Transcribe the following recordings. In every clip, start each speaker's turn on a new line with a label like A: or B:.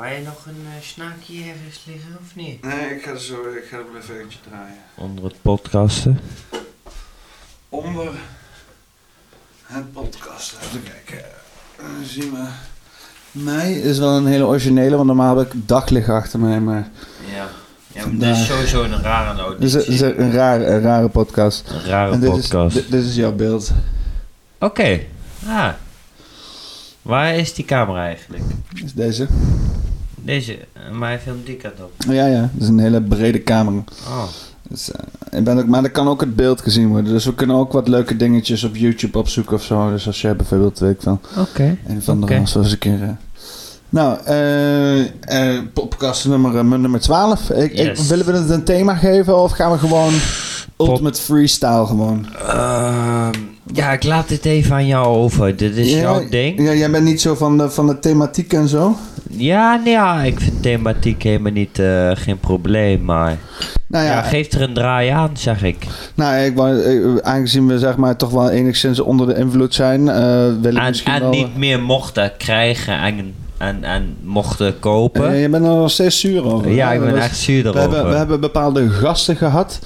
A: Had je nog een eh, snaakje ergens liggen of niet?
B: Nee, ik ga er zo, ik ga er wel even eentje draaien.
C: Onder het podcasten.
B: Onder het podcast. Even kijken. Eh, Dan zien we. Mij is wel een hele originele, want normaal heb ik daglicht achter mij. Maar
A: Ja. Ja, maar dat
B: Vandaag.
A: is sowieso een rare
B: dit is,
A: auditie.
B: dit is een, rare, een rare podcast.
C: Een rare
B: en dit
C: podcast.
B: Is, dit, dit is jouw beeld.
C: Oké. Ah. Waar is die camera eigenlijk?
B: Dit is deze.
C: Deze, eh, maar hij filmt die kant op.
B: Ja, ja. Dit is een hele brede camera.
C: Oh.
B: Dus, eh, ik ben ook, maar dan kan ook het beeld gezien worden. Dus we kunnen ook wat leuke dingetjes op YouTube opzoeken of zo. Dus als jij bijvoorbeeld, weet ik veel,
C: Oké.
B: een van de
C: Oké.
B: okay. zoals een keer... eh. nou, eh, eh, podcast nummer, eh, nummer 12. Ik, ik,
C: Yes.
B: willen we het een thema geven of gaan we gewoon ultimate freestyle gewoon?
C: Ehm, ja, ik laat dit even aan jou over. Dit is
B: Ja,
C: jouw ding.
B: Ja, jij bent niet zo van de, van de thematiek en zo.
C: Ja, nee, ja, ik vind thematiek helemaal niet eh, geen probleem, maar...
B: Nou
C: Ja.
B: ja,
C: geef er een draai aan, zeg ik.
B: nou, ik, wou- eh, aangezien we zeg maar toch wel enigszins onder de invloed zijn, eh wil ik
C: En,
B: misschien
C: en
B: wel... eh,
C: niet meer mochten krijgen en, en, en mochten kopen.
B: Eh, je bent er nog steeds zuur over.
C: ja,
B: hè?
C: ik
B: Dat
C: ben
B: was-
C: echt zuur
B: We hebben, we
C: erover.
B: hebben bepaalde gasten gehad.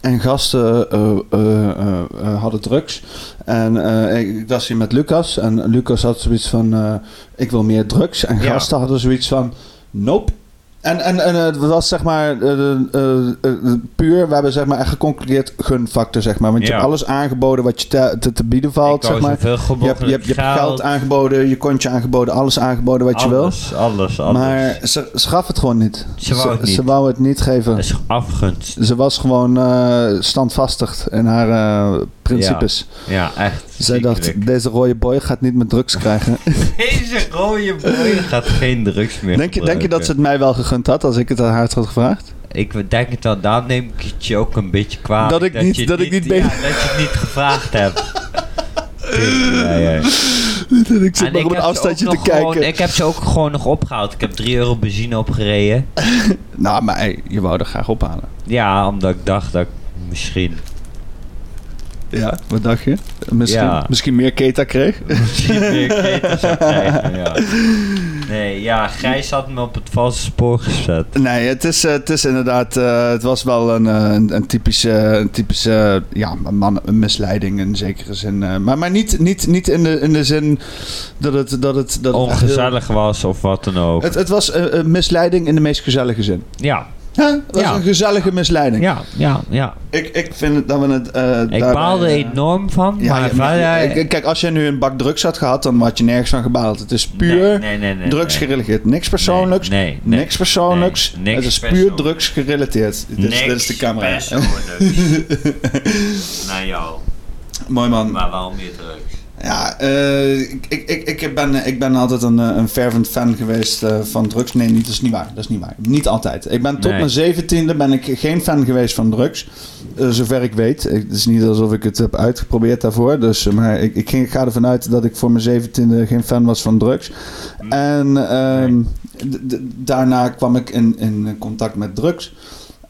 B: En gasten eh, eh, eh, eh, hadden drugs. En eh, ik, ik was hier met Lucas. En Lucas had zoiets van: eh, Ik wil meer drugs. En
C: Ja.
B: gasten hadden zoiets van: Nope. En, en, en eh, het was zeg maar eh, eh, eh, puur, we hebben zeg maar echt geconcludeerd gunfactor zeg maar. Want je
C: Ja.
B: hebt alles aangeboden wat je te, te, te bieden
C: Ik
B: valt
C: wou
B: zeg maar.
C: zoveel
B: Je hebt, je, hebt, je hebt geld, aangeboden, je kontje aangeboden, alles aangeboden wat je wil.
C: alles, alles, alles.
B: Maar ze, ze gaf het gewoon niet.
C: Ze wou het niet.
B: Ze wou het niet geven
C: Dat is afgunst.
B: ze was gewoon eh standvastig in haar eh, principes.
C: Ja, echt.
B: Zij
C: ziekelijk.
B: dacht, deze rode boy gaat niet met drugs krijgen.
C: Deze rode boy gaat geen drugs meer
B: denk, je, denk je dat ze het mij wel gegund had als ik het aan haar had gevraagd?
C: gebruiken. Ik denk het wel, daar neem ik het je ook een beetje kwaad.
B: Dat ik niet-
C: je
B: dat ik niet
C: ja,
B: ben-
C: dat je het niet gevraagd hebt. Ja, ja.
B: ik zit
C: En
B: maar op
C: heb
B: een
C: ze
B: afstandje
C: ook
B: te
C: nog
B: kijken.
C: Gewoon, ik heb ze ook gewoon nog opgehaald. Ik heb 3 euro benzine opgereden.
B: Nou, maar hey, je wou er graag ophalen.
C: Ja, omdat ik dacht dat ik misschien...
B: Ja, wat dacht je? Misschien,
C: Ja.
B: misschien meer keta kreeg?
C: misschien meer keten zou krijgen, ja. Nee, ja, Gijs had me op het valse spoor gezet.
B: Nee, het is, eh, het is inderdaad, eh, het was wel een, eh, een, een typische, een typische ja, man, een misleiding in zekere zin. eh, maar maar niet, niet, niet in, de, in de zin dat het... Dat het dat het echt heel-
C: Ongezellig was of wat dan ook.
B: Het, het was eh, een misleiding in de meest gezellige zin.
C: Ja,
B: Hè? Het was
C: Ja.
B: een gezellige misleiding.
C: ja, ja, ja.
B: Ik, ik vind het- dat we het... eh
C: Ik
B: daarbij,
C: baalde
B: eh,
C: enorm van,
B: ja,
C: maar
B: ja, maar
C: verder-
B: ik- kijk, als jij nu een bak drugs had gehad, dan had je nergens van gebaald. Het is puur
C: Nee, nee, nee, nee,
B: drugs
C: nee.
B: gerelateerd. Niks persoonlijks.
C: Nee, nee, nee.
B: niks persoonlijks.
C: Nee, niks
B: het is puur
C: persoonlijks.
B: drugs gerelateerd. Dit, is,
C: Niks
B: dit is de camera.
C: persoonlijks. Naar jou.
B: Mooi man.
C: Maar waarom je drugs?
B: Ja, eh, ik, ik, ik, ik, ben, ik ben altijd een, eh, een fervent fan geweest eh, van drugs. Nee, niet, dat is niet waar. Dat is niet waar. Niet altijd. Ik ben tot
C: Nee.
B: mijn zeventiende ben ik geen fan geweest van drugs. Eh, zover ik weet. Ik- Het is niet alsof ik het heb uitgeprobeerd daarvoor. Dus, eh, maar ik, ik, ging, ik ga ervan uit dat ik voor mijn zeventiende geen fan was van drugs. En ehm, d- d- daarna kwam ik in, in contact met drugs.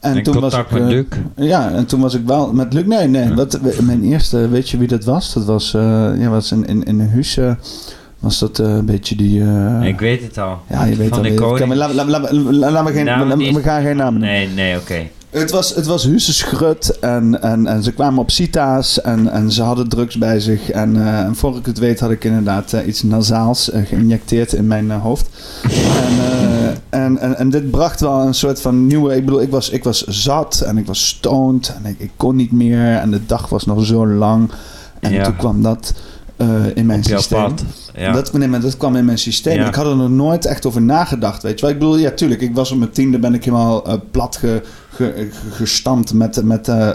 B: En
C: In
B: toen was ik,
C: contact met
B: eh,
C: Luc.
B: ja, en toen was ik wel met Luc. Nee, nee. Wat, we- mijn eerste, weet je wie dat was? Dat was, eh, ja, was in, in, in Huus. eh, was dat eh, een beetje die. eh,
C: Ik weet het al.
B: ja, je weet
C: Van
B: al
C: de
B: wie dat-
C: koning.
B: Kijk, maar laat- laat- laat- laat- Laten we geen-
C: Namen
B: laat-
C: niet.
B: we gaan geen namen noemen.
C: Nee, nee, oké.
B: Het was, het was Husse Schrut en, en, en ze kwamen op cita's en, en ze hadden drugs bij zich. En, eh, en voor ik het weet had ik inderdaad eh, iets nasaals eh, geïnjecteerd in mijn eh, hoofd. En, eh, en, en, en dit bracht wel een soort van nieuwe... Ik bedoel, ik was, ik was zat en ik was stoned en ik, ik kon niet meer. En de dag was nog zo lang. En
C: Ja.
B: toen kwam dat eh, in mijn
C: Op jouw
B: systeem.
C: pad. Ja.
B: Dat, nee, maar dat kwam in mijn systeem.
C: Ja.
B: Ik had er nog nooit echt over nagedacht, weet je wel. Ik bedoel, ja, tuurlijk. Ik was op mijn tiende, ben ik helemaal eh, plat ge, ge- ge- gestampt met, met eh,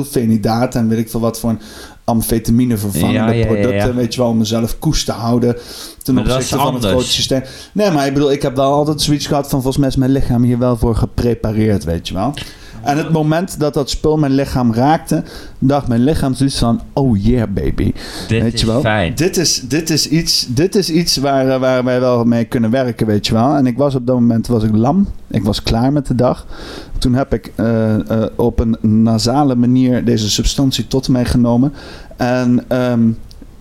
B: methylfenidaat en weet ik veel wat voor een amfetamine vervangende
C: Ja, ja, ja,
B: producten,
C: ja.
B: weet je wel, om mezelf koest te houden ten
C: Maar dat
B: opzichte
C: is
B: van het
C: anders.
B: grote systeem. Nee, maar ik bedoel, ik heb wel altijd zoiets gehad van volgens mij is mijn lichaam hier wel voor geprepareerd, weet je wel. En het moment dat dat spul mijn lichaam raakte, dacht mijn lichaam zoiets van, oh yeah baby.
C: Dit
B: Weet
C: is
B: je wel?
C: fijn.
B: Dit is, dit is iets, dit is iets waar, eh, waar wij wel mee kunnen werken, weet je wel. En ik was op dat moment was ik lam. Ik was klaar met de dag. Toen heb ik eh, eh, op een nasale manier deze substantie tot mij genomen. En ehm,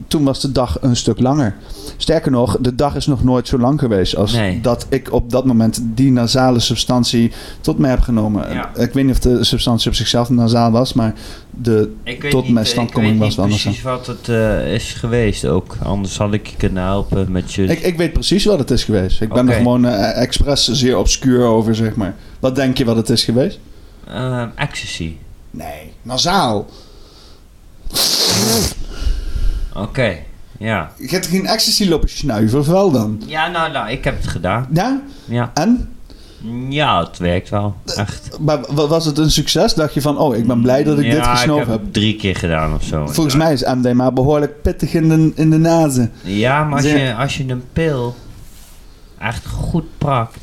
B: toen was de dag een stuk langer. Sterker nog, de dag is nog nooit zo lang geweest als
C: Nee.
B: dat ik op dat moment die nasale substantie tot mij heb genomen.
A: Ja.
B: Ik weet niet of de substantie op zichzelf nasaal was, maar de,
C: Ik weet
B: tot
C: niet,
B: mijn
C: eh,
B: standkoming was het
C: Ik weet
B: anders
C: niet precies wat het eh, is geweest ook. Anders had ik je kunnen helpen met je...
B: ik, ik weet precies wat het is geweest. Ik ben
C: Dus- Oké.
B: er gewoon eh, expres zeer obscuur over, zeg maar. Wat denk je wat het is geweest?
C: Ehm, ecstasy.
B: Nee, nasaal.
C: Oké, ja.
B: Je hebt geen ecstasy lopen snuiven, of wel dan?
C: Ja, nou, nou, ik heb het gedaan.
B: Ja?
C: Ja,
B: En?
C: ja het werkt wel. Echt.
B: Maar wa- was het een succes? Dacht je van, oh, ik ben blij dat ik
C: ja,
B: dit
C: ik
B: gesnoven
C: heb
B: heb.
C: het drie keer gedaan of zo.
B: Volgens mij is MDMA behoorlijk pittig in de, in de nazen.
C: Ja, maar als
B: Zeg-
C: je, als je een pil echt goed pakt...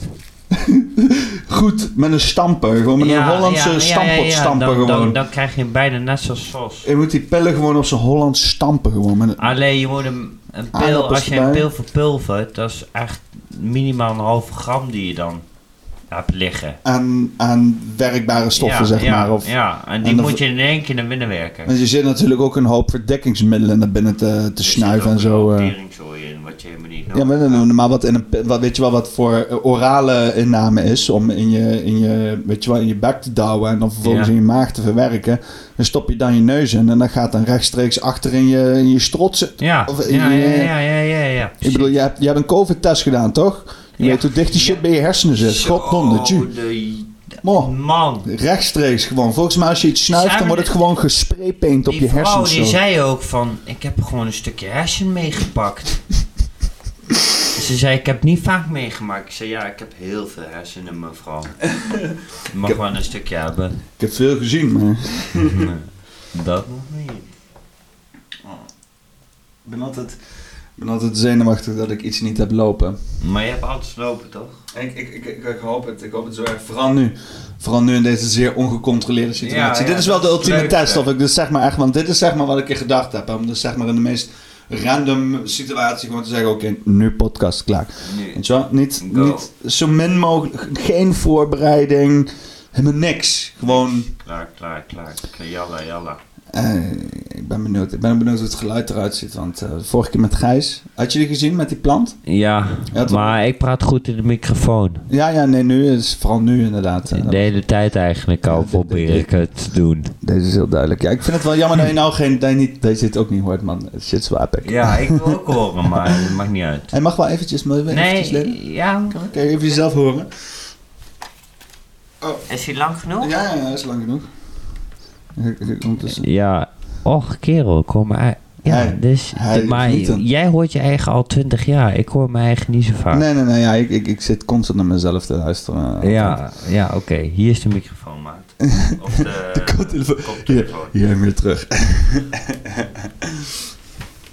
B: Goed, met een stamper. Gewoon met
C: Ja,
B: een Hollandse stamper, stamper
C: dan,
B: gewoon.
C: Dan, dan krijg je hem bijna net zoals sos.
B: Je moet die pillen gewoon op zijn Hollands stampen. Gewoon. Met een-
C: Alleen je moet hem een pil,
B: Aardappels
C: als je een
B: erbij.
C: pil verpulvert, dat is echt minimaal een halve gram die je dan hebt liggen.
B: aan, aan werkbare stoffen,
C: Ja,
B: zeg
C: ja,
B: maar. Of,
C: ja, en die
B: en dan-
C: moet je in één keer naar binnen werken.
B: Want je zit natuurlijk ook een hoop verdekkingsmiddelen naar binnen te, te snuiven en zo. eh.
C: teringzooi in, wat je helemaal niet
B: Ja,
C: nodig
B: maar,
C: hebt.
B: dan- maar wat, in een, pi- wat, weet je wel wat voor eh, orale inname is om in je, in je, weet je wel, in je bek te douwen en dan vervolgens
C: Ja.
B: in je maag te verwerken. Dan stop je dan je neus in en dan gaat dan rechtstreeks achter in je, in je strot zitten.
C: Ja,
B: Of-
C: ja, ja, ja, ja, ja, ja.
B: Ik bedoel, je hebt, je hebt een covid-test gedaan, toch? Je
C: Ja.
B: weet hoe dicht die shit
C: Ja.
B: bij je hersenen zit.
C: Zo, Mm.
B: Goddomme, tju.
C: de-
B: Mo.
C: Man,
B: Rechtstreeks gewoon. Volgens mij als je iets snuift,
C: Zijn
B: dan
C: we
B: wordt het
C: de-
B: gewoon gespraypaint op
C: die
B: je
C: vrouw
B: hersens.
C: die
B: zo.
C: zei ook van, ik heb gewoon een stukje hersen meegepakt. Ze zei, ik heb niet vaak meegemaakt. Ik zei, ja, ik heb heel veel hersenen, mevrouw. Je mag wel een stukje hebben.
B: Ik heb veel gezien, maar...
C: Dat nog niet.
B: Ik ben altijd, ik ben altijd zenuwachtig dat ik iets niet heb lopen.
C: Maar je hebt altijd lopen, toch?
B: Ik, ik, ik, ik, ik hoop het, ik hoop het zo erg. Vooral nu. Vooral nu in deze zeer ongecontroleerde situatie.
C: Ja, ja,
B: dit is wel de
C: dat is
B: ultieme
C: leuk,
B: test
C: hè?
B: of ik dit zeg maar echt, want dit is zeg maar wat ik in gedacht heb. hè, Om dus zeg maar in de meest random situatie gewoon te zeggen, oké, nu podcast klaar.
C: Nu.
B: Weet je wel? Niet,
C: Go.
B: niet zo min mogelijk, geen voorbereiding, helemaal niks. Gewoon,
C: Klaar, klaar, klaar. Jalla, jalla.
B: eh, ik ben benieuwd. Ik ben benieuwd hoe het geluid eruit ziet, want eh, vorige keer met Gijs, had je die gezien met die plant?
C: Ja,
B: Ja, toch?
C: maar ik praat goed in de microfoon.
B: Ja, ja, nee, nu is vooral nu inderdaad. eh, dat-
C: De hele tijd eigenlijk al
B: Ja, dit- dit-
C: probeer ik het te doen.
B: Deze is heel duidelijk. Ja, ik vind het wel jammer dat je nou geen, dat je niet, dat je dit ook niet hoort, man. Shit, zo epic.
C: Ja, ik wil ook horen, maar dat maakt niet uit.
B: Hij mag wel eventjes, maar even eventjes leren.
C: Nee, ja.
B: Kan je even jezelf horen?
C: Is hij lang genoeg?
B: Ja, ja, is lang genoeg. Ik- ik- Ondertussen.
C: Ja, och kerel, ik hoor mijn ei- Ja,
B: Hij-
C: dus,
B: hij
C: maar
B: genieten.
C: jij hoort je eigen al twintig jaar. Ik hoor mijn eigen niet zo vaak.
B: Nee, nee, nee, ja, ik, ik, ik zit constant naar mezelf te luisteren. eh,
C: Ja, ja oké. Hier is de microfoon, maat. Of de,
B: koptelefoon.
C: koptelefoon.
B: Hier en weer terug.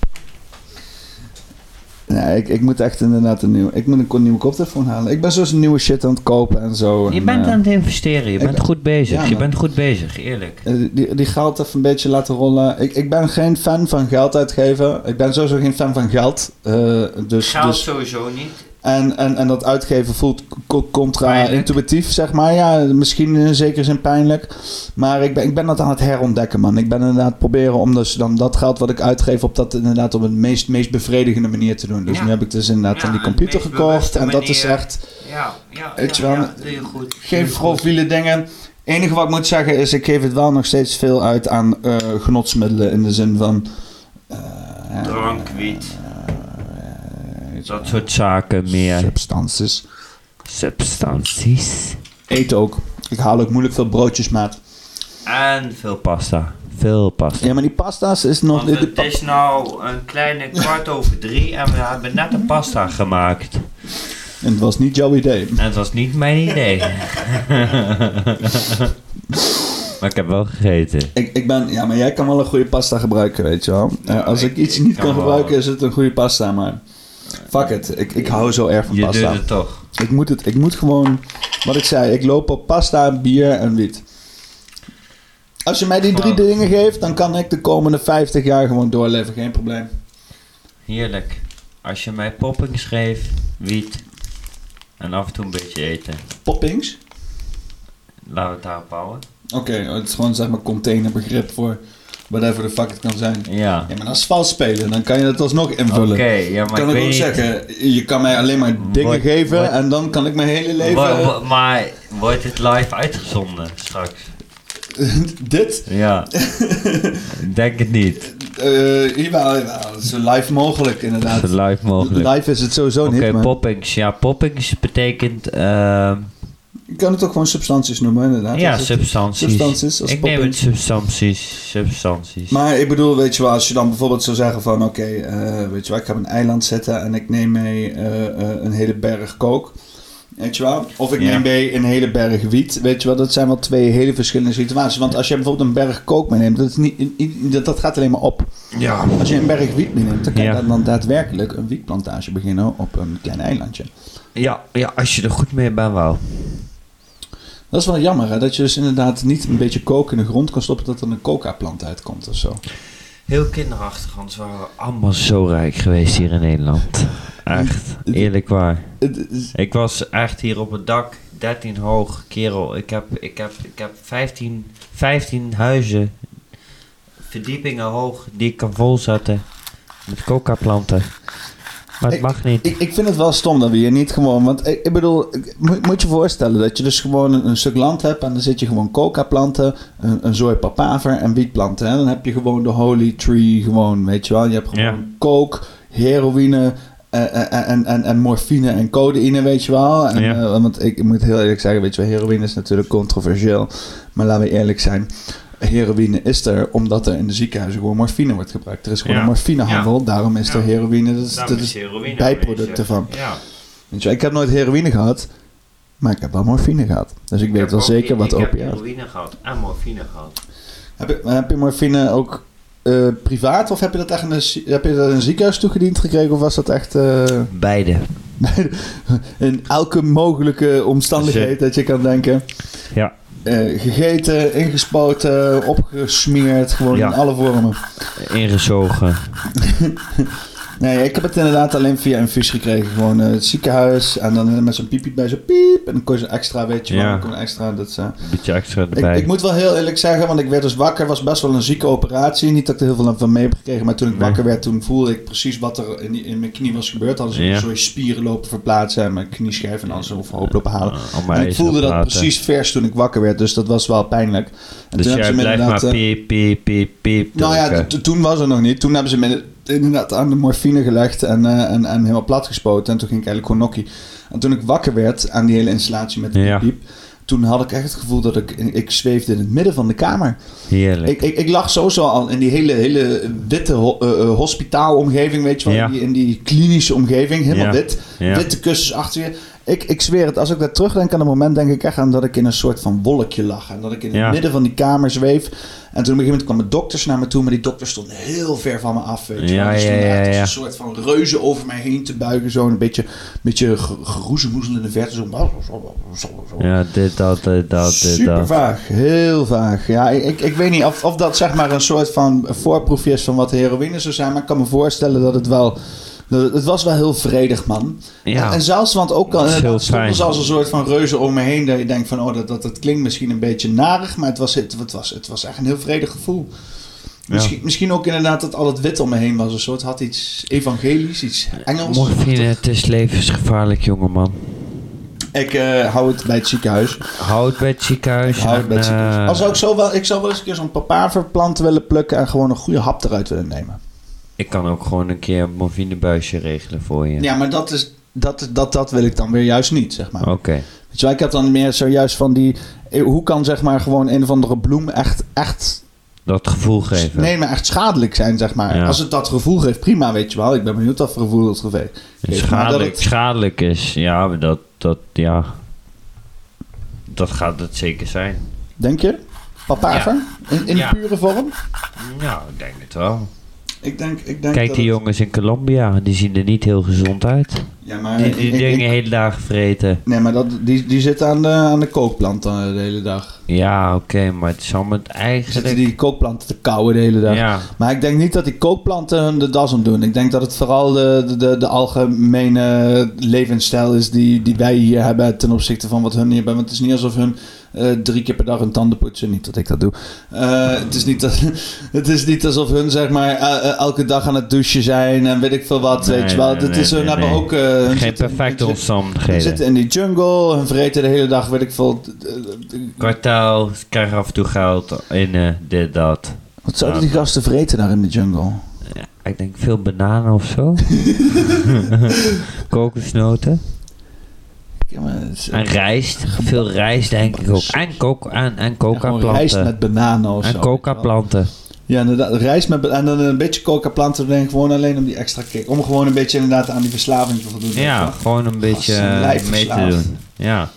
B: Nee, ik, ik moet echt inderdaad een nieuw. Ik moet een ko- nieuwe koptelefoon halen. Ik ben zo een nieuwe shit aan het kopen en zo.
C: Je
B: en,
C: bent
B: eh,
C: aan het investeren. Je
B: ik-
C: bent goed bezig.
B: Ja,
C: je
B: man.
C: bent goed bezig, eerlijk.
B: Eh, Die, die geld even een beetje laten rollen. Ik, ik ben geen fan van geld uitgeven. Ik ben sowieso geen fan van geld. Eh, dus,
C: Geld
B: dus,
C: sowieso niet.
B: en, en, en dat uitgeven voelt co- contra-intuïtief, zeg maar. Ja, misschien in zekere zin pijnlijk. Maar ik ben, ik ben dat aan het herontdekken, man. Ik ben inderdaad proberen om dus dan dat geld wat ik uitgeef... op dat inderdaad op het meest, meest bevredigende manier te doen. Dus
C: Ja.
B: nu heb ik dus inderdaad
C: Ja,
B: dan die
C: een
B: computer
C: meest
B: gekocht.
C: bewuste
B: En dat is
C: manier.
B: echt...
C: Ja, ja,
B: Weet je
C: ja,
B: wel,
C: ja, doe je goed. Doe
B: Geen
C: je goed.
B: profiele dingen. Het enige wat ik moet zeggen is, ik geef het wel nog steeds veel uit aan eh, genotsmiddelen. In de zin van... eh,
C: Drank, wiet.
B: eh, eh,
C: Dat soort zaken meer.
B: Substanties.
C: Substanties.
B: Eten ook. Ik haal ook moeilijk veel broodjes, maat.
C: En veel pasta. Veel pasta.
B: Ja, maar die pasta's is nog...
C: Want
B: Die, die
C: het
B: pa-
C: is nou een kleine kwart over drie en we hebben net een pasta gemaakt.
B: en het was niet jouw idee.
C: En het was niet mijn idee. maar ik heb wel gegeten.
B: Ik, ik ben... Ja, maar jij kan wel een goede pasta gebruiken, weet je wel. Eh,
C: Nou,
B: als ik,
C: ik-
B: iets
C: ik
B: niet
C: kan
B: kan
C: wel-
B: gebruiken, is het een goede pasta, maar... Fuck it. Ik, ik hou zo erg van
C: Je
B: pasta.
C: doet het toch.
B: Ik moet het, ik moet gewoon, wat ik zei, ik loop op pasta, bier en wiet. Als je mij die drie
C: Gewoon.
B: dingen geeft, dan kan ik de komende 50 jaar gewoon doorleven, geen probleem.
C: Heerlijk. Als je mij poppings geeft, wiet en af en toe een beetje eten.
B: Poppings?
C: Laten we het daarop houden.
B: oh, Oké, het is gewoon zeg maar containerbegrip voor whatever the fuck het kan zijn.
C: Ja.
B: Ja, maar dat is vals spelen. Dan kan je dat alsnog invullen.
C: Oké, ja, maar ik
B: kan ik
C: weet
B: ook
C: niet-
B: zeggen, je kan mij alleen maar dingen
C: Wat-
B: geven
C: wat-
B: en dan kan ik mijn hele leven...
C: Wa- wa- maar wordt het live uitgezonden straks?
B: dit?
C: Ja. Ik Denk het niet.
B: eh jawel, jawel, zo live mogelijk inderdaad.
C: Zo live mogelijk.
B: Live is het sowieso
C: Oké,
B: niet, Oh, maar
C: poppings. Ja, poppings betekent ehm,
B: je kan het ook gewoon substanties noemen inderdaad.
C: ja,
B: Als het-
C: substanties.
B: substanties als
C: ik neem het
B: poppings.
C: substanties. Substanties.
B: Maar ik bedoel, weet je wel, als je dan bijvoorbeeld zou zeggen van... Oké, eh, weet je wel, ik ga op een eiland zetten en ik neem mee eh, eh, een hele berg kook. Weet je wel? Of ik
C: Ja.
B: neem mee een hele berg wiet. Weet je wel, dat zijn wel twee hele verschillende situaties. Want als je bijvoorbeeld een berg kook meeneemt, dat, is niet, i- i- dat, dat gaat alleen maar op.
C: ja.
B: Als je een berg wiet meeneemt, dan kan
C: Ja.
B: je dan daadwerkelijk een wietplantage beginnen op een klein eilandje.
C: Ja, ja, als je er goed mee bent wel.
B: Dat is wel jammer, hè? Dat je dus inderdaad niet een beetje kook in de grond kan stoppen dat er een coca-plant uitkomt of zo.
C: Heel kinderachtig, anders waren we allemaal zo rijk geweest hier in Nederland. Echt, eerlijk waar.
B: Het is-
C: Ik was echt hier op het dak, 13 hoog, kerel. Ik heb, ik heb, ik heb 15, 15 huizen, verdiepingen hoog, die ik kan volzetten met coca-planten. Maar het
B: Ik-
C: mag niet.
B: Ik, ik vind het wel stom dat we hier niet gewoon. Want ik, ik bedoel, ik- moet, moet je voorstellen dat je dus gewoon een, een stuk land hebt. En dan zit je gewoon coca-planten, een, een zooi papaver en wietplanten. Hè? Dan heb je gewoon de holy tree, gewoon, weet je wel. Je hebt gewoon
C: Ja.
B: coke, heroïne. eh, eh, en, en, en morfine en codeïne, weet je wel. En,
C: Ja.
B: eh, want ik moet heel eerlijk zeggen, weet je wel, heroïne is natuurlijk controversieel. Maar laten we eerlijk zijn, heroïne is er omdat er in de ziekenhuizen gewoon morfine wordt gebruikt. Er is gewoon
C: Ja.
B: een morfinehandel, daarom is
C: Ja.
B: er heroïne. Dat is,
C: Daarom
B: dat
C: is
B: is
C: heroïne
B: bijproduct
C: aanwezig.
B: ervan.
C: Ja.
B: Weet je, wel, ik heb nooit heroïne gehad, maar ik heb wel morfine gehad. Dus ik, weet
C: heb
B: wel
C: ook-
B: zeker wat
C: Ik heb
B: opiaat.
C: heroïne gehad en morfine gehad.
B: Heb, je- heb je morfine ook eh, privaat of heb je dat echt in een, zie- heb je dat in een ziekenhuis toegediend gekregen? Of was dat echt eh,
C: Beide.
B: in elke mogelijke omstandigheid dat je kan denken?
C: Ja.
B: Eh, gegeten, ingespoten, opgesmeerd, gewoon
C: Ja.
B: in alle vormen.
C: Ingezogen.
B: Nee, ik heb het inderdaad alleen via infuus gekregen. Gewoon eh, het ziekenhuis en dan met zo'n piepje bij, zo'n piep. En dan kon je zo'n extra, weet je wel.
C: Ja.
B: dan kon je extra, dat is, eh,
C: Een beetje extra
B: Ik,
C: erbij.
B: ik moet wel heel eerlijk zeggen, want ik werd dus wakker. was best wel een zieke operatie. Niet dat ik er heel veel aan van mee heb gekregen. Maar toen ik
C: Nee.
B: wakker werd, toen voelde ik precies wat er in, die- in mijn knie was gebeurd. Hadden ze
C: Ja.
B: een soort spieren lopen verplaatsen en mijn knieschijf en alles overhoop lopen halen.
C: Eh, allemaal
B: en ik voelde dat
C: ijzeren platen.
B: precies vers toen ik wakker werd. Dus dat was wel pijnlijk. En
C: Dus
B: toen hebben
C: jij
B: ze me
C: blijft maar
B: inderdaad... eh,
C: piep, piep, piep, piep.
B: nou ja,
C: drukken.
B: t- toen was er nog niet. Toen hebben ze me inderdaad aan de morfine gelegd en, eh, en, en helemaal plat gespoten. En toen ging ik eigenlijk gewoon nokkie. En toen ik wakker werd aan die hele installatie met de
C: Ja.
B: piep, toen had ik echt het gevoel dat ik, ik zweefde in het midden van de kamer.
C: Heerlijk.
B: Ik, ik, ik lag sowieso al in die hele, hele witte ho- eh, eh, hospitaalomgeving, weet je wel.
C: Ja.
B: In, die, in die klinische omgeving, helemaal
C: Ja.
B: wit.
C: Ja.
B: Witte kussens achter je. Ik, ik zweer het, als ik daar terugdenk aan dat moment, denk ik echt aan dat ik in een soort van wolkje lag. En dat ik in
C: Ja.
B: het midden van die kamer zweef. En toen op een gegeven moment kwamen dokters naar me toe, maar die dokters stonden heel ver van me af, weet je
C: Ja,
B: wel. Die
C: ja, ja,
B: stonden echt als
C: ja.
B: een soort van reuzen over mij heen te buigen, zo een beetje, beetje ge- geroezemoezel in de verte. Zo.
C: Ja, dit, dat, dit, dat, dit,
B: Super
C: dat.
B: vaag, heel vaag. Ja, ik, ik- ik weet niet of, of dat zeg maar een soort van voorproefje is van wat de heroïne zou zijn, maar ik kan me voorstellen dat het wel. dat het, het was wel heel vredig, man. En,
C: Ja,
B: en zelfs, want ook
C: Dat
B: al eh,
C: is heel
B: inderdaad stonden
C: fijn.
B: ze als een soort van reuzen om me heen, dat je denkt van, oh, dat, dat, dat klinkt misschien een beetje narig, maar het was, het, het was, het was echt een heel vredig gevoel. Misschien, misschien ook inderdaad dat al het wit om me heen was, een soort had iets evangelisch, iets Engels.
C: morfine, het is levensgevaarlijk, jongeman.
B: Ik eh, hou het bij het ziekenhuis.
C: Houd bij het ziekenhuis.
B: Hout
C: en,
B: met citroen.
C: eh,
B: Al zou ik, zo wel, ik zou wel eens een keer zo'n papaverplant willen plukken en gewoon een goede hap eruit willen nemen.
C: Ik kan ook gewoon een keer een morfinebuisje regelen voor je.
B: Ja, maar dat, is, dat, dat, dat wil ik dan weer juist niet, zeg maar.
C: Oké.
B: Weet je wel, ik heb dan meer zojuist van die... eh, Hoe kan zeg maar gewoon een of andere bloem echt... echt
C: Dat gevoel geven.
B: nee, maar echt schadelijk zijn, zeg maar.
C: Ja.
B: Als het dat gevoel geeft, prima, weet je wel. Ik ben benieuwd wat voor gevoel het geve- geeft. Maar dat
C: schadelijk,
B: het-
C: schadelijk is. Ja, maar dat, dat, ja. Dat gaat het zeker zijn.
B: denk je? Papaver? In, in
C: Ja.
B: de pure vorm?
C: Ja, ik denk het wel.
B: Ik denk, ik denk
C: Kijk
B: dat
C: die
B: het-
C: jongens in Colombia, die zien er niet heel gezond uit.
B: Ja, maar...
C: Die,
B: ik-
C: die
B: ik-
C: dingen
B: ik-
C: hele dagen vreten.
B: nee, maar dat, die, die zitten aan de, aan de kookplant dan de hele dag.
C: Ja, oké, maar het is allemaal het
B: Zitten
C: eigenlijk...
B: die kookplanten te kauwen de hele dag.
C: Ja,
B: Maar ik denk niet dat die kookplanten hun de das om doen. Ik denk dat het vooral de, de, de, de algemene levensstijl is die, die wij hier hebben ten opzichte van wat hun hier hebben. Want het is niet alsof hun eh, drie keer per dag hun tanden poetsen. Niet dat ik dat doe. Eh, het, is niet dat, het is niet alsof hun zeg maar eh, eh, elke dag aan het douchen zijn en weet ik veel wat.
C: Nee,
B: weet je wel.
C: nee,
B: dat
C: nee,
B: is hun
C: nee,
B: hebben
C: nee.
B: ook... eh, hun
C: Geen
B: zitten-
C: perfecte
B: hun zitten- hun
C: omstandigheden.
B: zitten in die jungle, hun vreten de hele dag, weet ik veel. eh, eh,
C: Kwartaal, ze krijgen af en toe geld in eh, dit, dat.
B: Wat zouden die gasten vreten daar in de jungle?
C: Ja, ik denk veel bananen of zo. Kokosnoten.
B: Ja, maar het is-
C: En rijst. Veel rijst denk ik ook. En, coca en, en
B: Ja, gewoon rijst
C: coca-planten.
B: met bananen of zo.
C: En coca-planten.
B: Ja, inderdaad. Rijst met, en dan een beetje coca-planten erin. Gewoon alleen om die extra kick. Om gewoon een beetje inderdaad aan die verslaving te voldoen.
C: Ja, gewoon een beetje
B: zijn
C: eh,
B: lijf
C: mee te
B: verslaafd.
C: doen. Ja.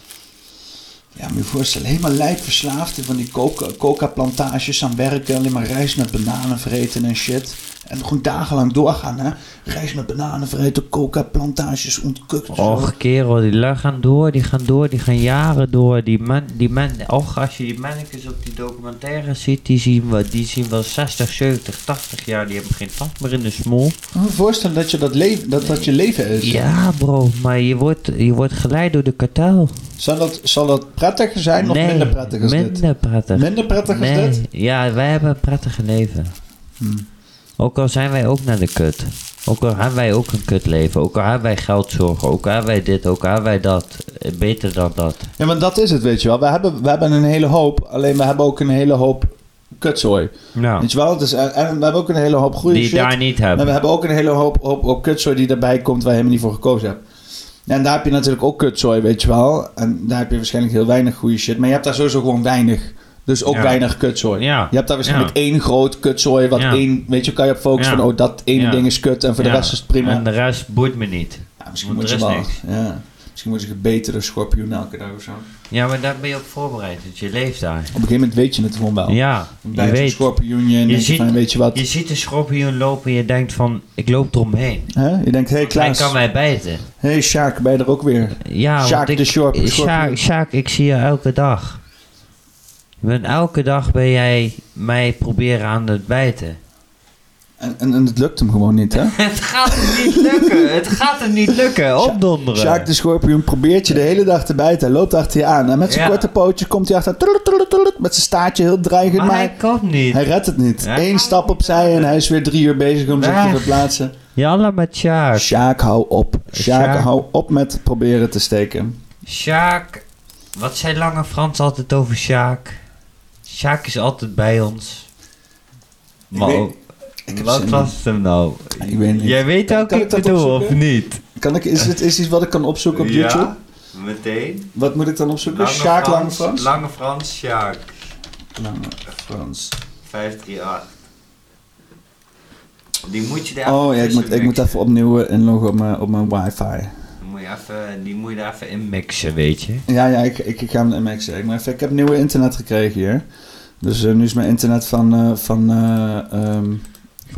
B: Ja, moet je voorstellen. Helemaal lijkverslaafd van die coca- coca-plantages aan werken. Alleen maar rijst met bananen vreten en shit. En gewoon dagenlang doorgaan, hè. Rijst met bananen vreten, coca-plantages ontkukt. zo.
C: Och, kerel, die lui gaan door, die gaan door, die gaan jaren door. Die man, die man, och, als je die mannetjes op die documentaire ziet, die zien, wel, die zien wel 60, 70, 80 jaar. Die hebben geen tand meer in de smoel.
B: Ik moet je voorstellen dat je dat, le- dat, dat je leven is.
C: Ja, bro, maar je wordt, je wordt geleid door de kartel.
B: Zal, dat, zal dat prettiger zijn of minder prettig als dit?
C: minder prettig.
B: Minder prettig als
C: nee,
B: dit?
C: ja, wij hebben een prettige leven. Ook al zijn wij ook naar de kut. Ook al hebben wij ook een kut leven. Ook al hebben wij geldzorgen. Ook al hebben wij dit. Ook al hebben wij dat. Eh, Beter dan dat.
B: Ja, want dat is het, weet je wel. We hebben, we hebben een hele hoop, alleen we hebben ook een hele hoop kutzooi.
C: Nou,
B: Weet je wel? Het is, en, en we hebben ook een hele hoop goede
C: die
B: shit.
C: daar niet
B: Maar
C: hebben.
B: we hebben ook een hele hoop, hoop, hoop kutzooi die erbij komt waar je helemaal niet voor gekozen hebt. En daar heb je natuurlijk ook kutzooi, weet je wel. En daar heb je waarschijnlijk heel weinig goede shit. Maar je hebt daar sowieso gewoon weinig. Dus ook
C: Ja.
B: weinig kutzooi.
C: Ja.
B: Je hebt daar waarschijnlijk
C: Ja.
B: één groot kutzooi. Wat
C: Ja.
B: één, weet je, kan je op focussen
C: Ja.
B: van, oh, dat ene
C: Ja.
B: ding is kut en voor de
C: Ja,
B: rest is het prima.
C: En de rest boeit me niet.
B: ja, misschien
C: want
B: moet
C: er is
B: je wel.
C: niks.
B: Ja. Misschien moet je een betere schorpioen elke dag of zo. Op een
C: Ja, maar daar ben je op voorbereid. Want je leeft daar.
B: gegeven moment weet je het gewoon wel.
C: Ja, je
B: Bij zo'n
C: weet.
B: schorpioen je, denk je
C: ziet-
B: van, weet je wat?
C: Je ziet een schorpioen lopen en je denkt van, ik loop eromheen.
B: hè? Je denkt, hé hey,
C: Hij
B: Klaas,
C: kan mij bijten.
B: hey Sjaak, ben je er ook weer?
C: Ja, want
B: Sjaak
C: ik-
B: de Shorp.
C: Eh, Sjaak,
B: schorpioen.
C: Sjaak, ik zie je elke dag. Je bent- elke dag ben jij mij proberen aan het bijten.
B: En, en, en het lukt hem gewoon niet, hè?
C: Het gaat hem niet lukken. Het gaat hem niet lukken. Opdonderen.
B: Sjaak dus de schorpioen probeert je de hele dag te bijten. Hij loopt achter je aan. En met zijn
C: Ja.
B: korte pootje komt hij achter. Tullut, tullut, tullut, met zijn staartje heel dreigend.
C: maar
B: Maar,
C: hij kan niet.
B: hij redt het niet.
C: Ja.
B: Eén stap opzij en hij is weer drie uur bezig om zich
C: Weg.
B: te verplaatsen.
C: Jalla met Sjaak.
B: Sjaak, hou op. Sjaak,
C: Sjaak.
B: hou op met proberen te steken.
C: Sjaak. Wat zei Lange Frans altijd over Sjaak? Sjaak is altijd bij ons. Maar
B: weet-
C: ook-
B: Ik heb
C: wat
B: zin
C: was het hem nou?
B: Ik weet niet.
C: Jij weet
B: Kan-
C: ook
B: kan
C: ik
B: ik dat
C: bedoel, of
B: opzoeken?
C: niet?
B: Kan ik, is het is iets wat ik kan opzoeken op YouTube?
C: meteen.
B: Wat moet ik dan
C: Nou,
B: opzoeken? Sjaak Lange Frans?
C: Lange Frans, Sjaak.
B: Lange Frans.
C: 538. Die moet je daar
B: Oh ja, ik
C: tussen
B: moet, ik moet
C: mixen.
B: even opnieuw eh, inloggen op mijn, op mijn wifi.
C: Die moet, je even, die moet je daar even in mixen, weet je.
B: Ja, ja, ik, ik, ik ga hem MX zeggen. Maar even, ik heb nieuwe internet gekregen hier. Dus eh, nu is mijn internet van, eh van eh ehm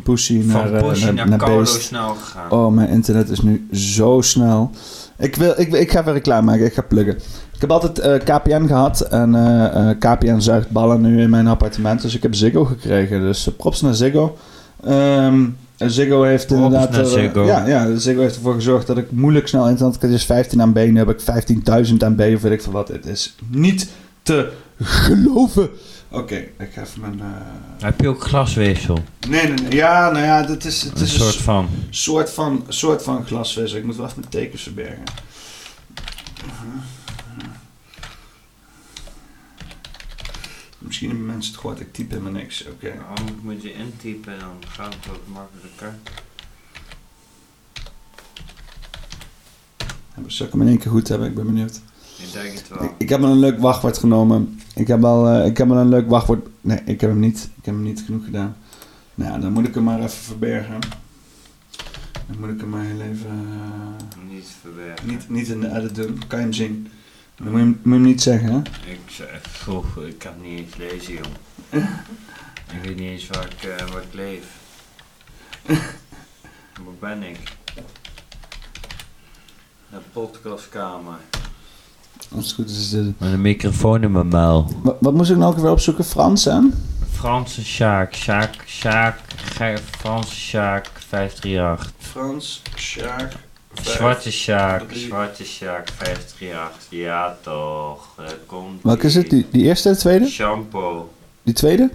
B: Pussy naar,
C: Van
B: eh,
C: Porsche naar, Carlo
B: Beest.
C: snel gegaan.
B: Oh, mijn internet is nu zo snel. Ik, wil, ik, ik ga even reclame maken, ik ga pluggen. Ik heb altijd eh, KPN gehad en eh, eh, KPN zuigt ballen nu in mijn appartement. Dus ik heb Ziggo gekregen. Dus eh, props naar Ziggo. Ehm, en Ziggo heeft
C: Props
B: inderdaad...
C: naar
B: er, eh,
C: Ziggo.
B: Ja, ja, Ziggo heeft ervoor gezorgd dat ik moeilijk snel internet kan. Dus 15 MB, nu heb ik 15.000 MB of weet ik veel wat. Het is niet te geloven. Oké, ik ga even mijn... eh,
C: Heb je ook glasweefsel?
B: Nee, nee, nee. Ja, nou ja, dit is, het
C: een
B: is
C: soort van.
B: soort van, soort van glasvezel. Ik moet wel even mijn tekens verbergen. Misschien hebben mensen het gehoord, ik typ helemaal niks. Oké.
C: Anders Oh, moet je intypen, dan gaat het ook makkelijker.
B: Zal ik hem in één keer goed hebben? Ik ben benieuwd.
C: Ik denk het
B: Ik, ik heb wel een leuk wachtwoord genomen. Ik heb wel, eh, ik heb wel een leuk wachtwoord. Nee, ik heb hem niet. Ik heb hem niet genoeg gedaan. Nou, ja, dan moet ik hem maar even verbergen. Dan moet ik hem maar heel even. eh,
C: Niet verwerken.
B: niet, niet in de edit doen. Kan je hem zien? Dan moet je hem, moet je hem niet zeggen, hè?
C: Ik zeg, goh, ik kan niet eens lezen, joh. ik weet niet eens waar ik, eh, waar ik leef. waar ben ik? Een podcastkamer.
B: Als het goed is, is dit het.
C: Met een microfoon in mijn muil.
B: Wa- Wat, moest ik nou ook weer opzoeken? Frans, hè?
C: Franse Sjaak, Sjaak, Sjaak, Ge- Franse Sjaak, 538.
B: Frans, Sjaak,
C: Zwarte Sjaak, Zwarte Sjaak 538. Ja toch, daar komt
B: Welke is het? Die, die eerste, de tweede?
C: Shampoo.
B: Die tweede?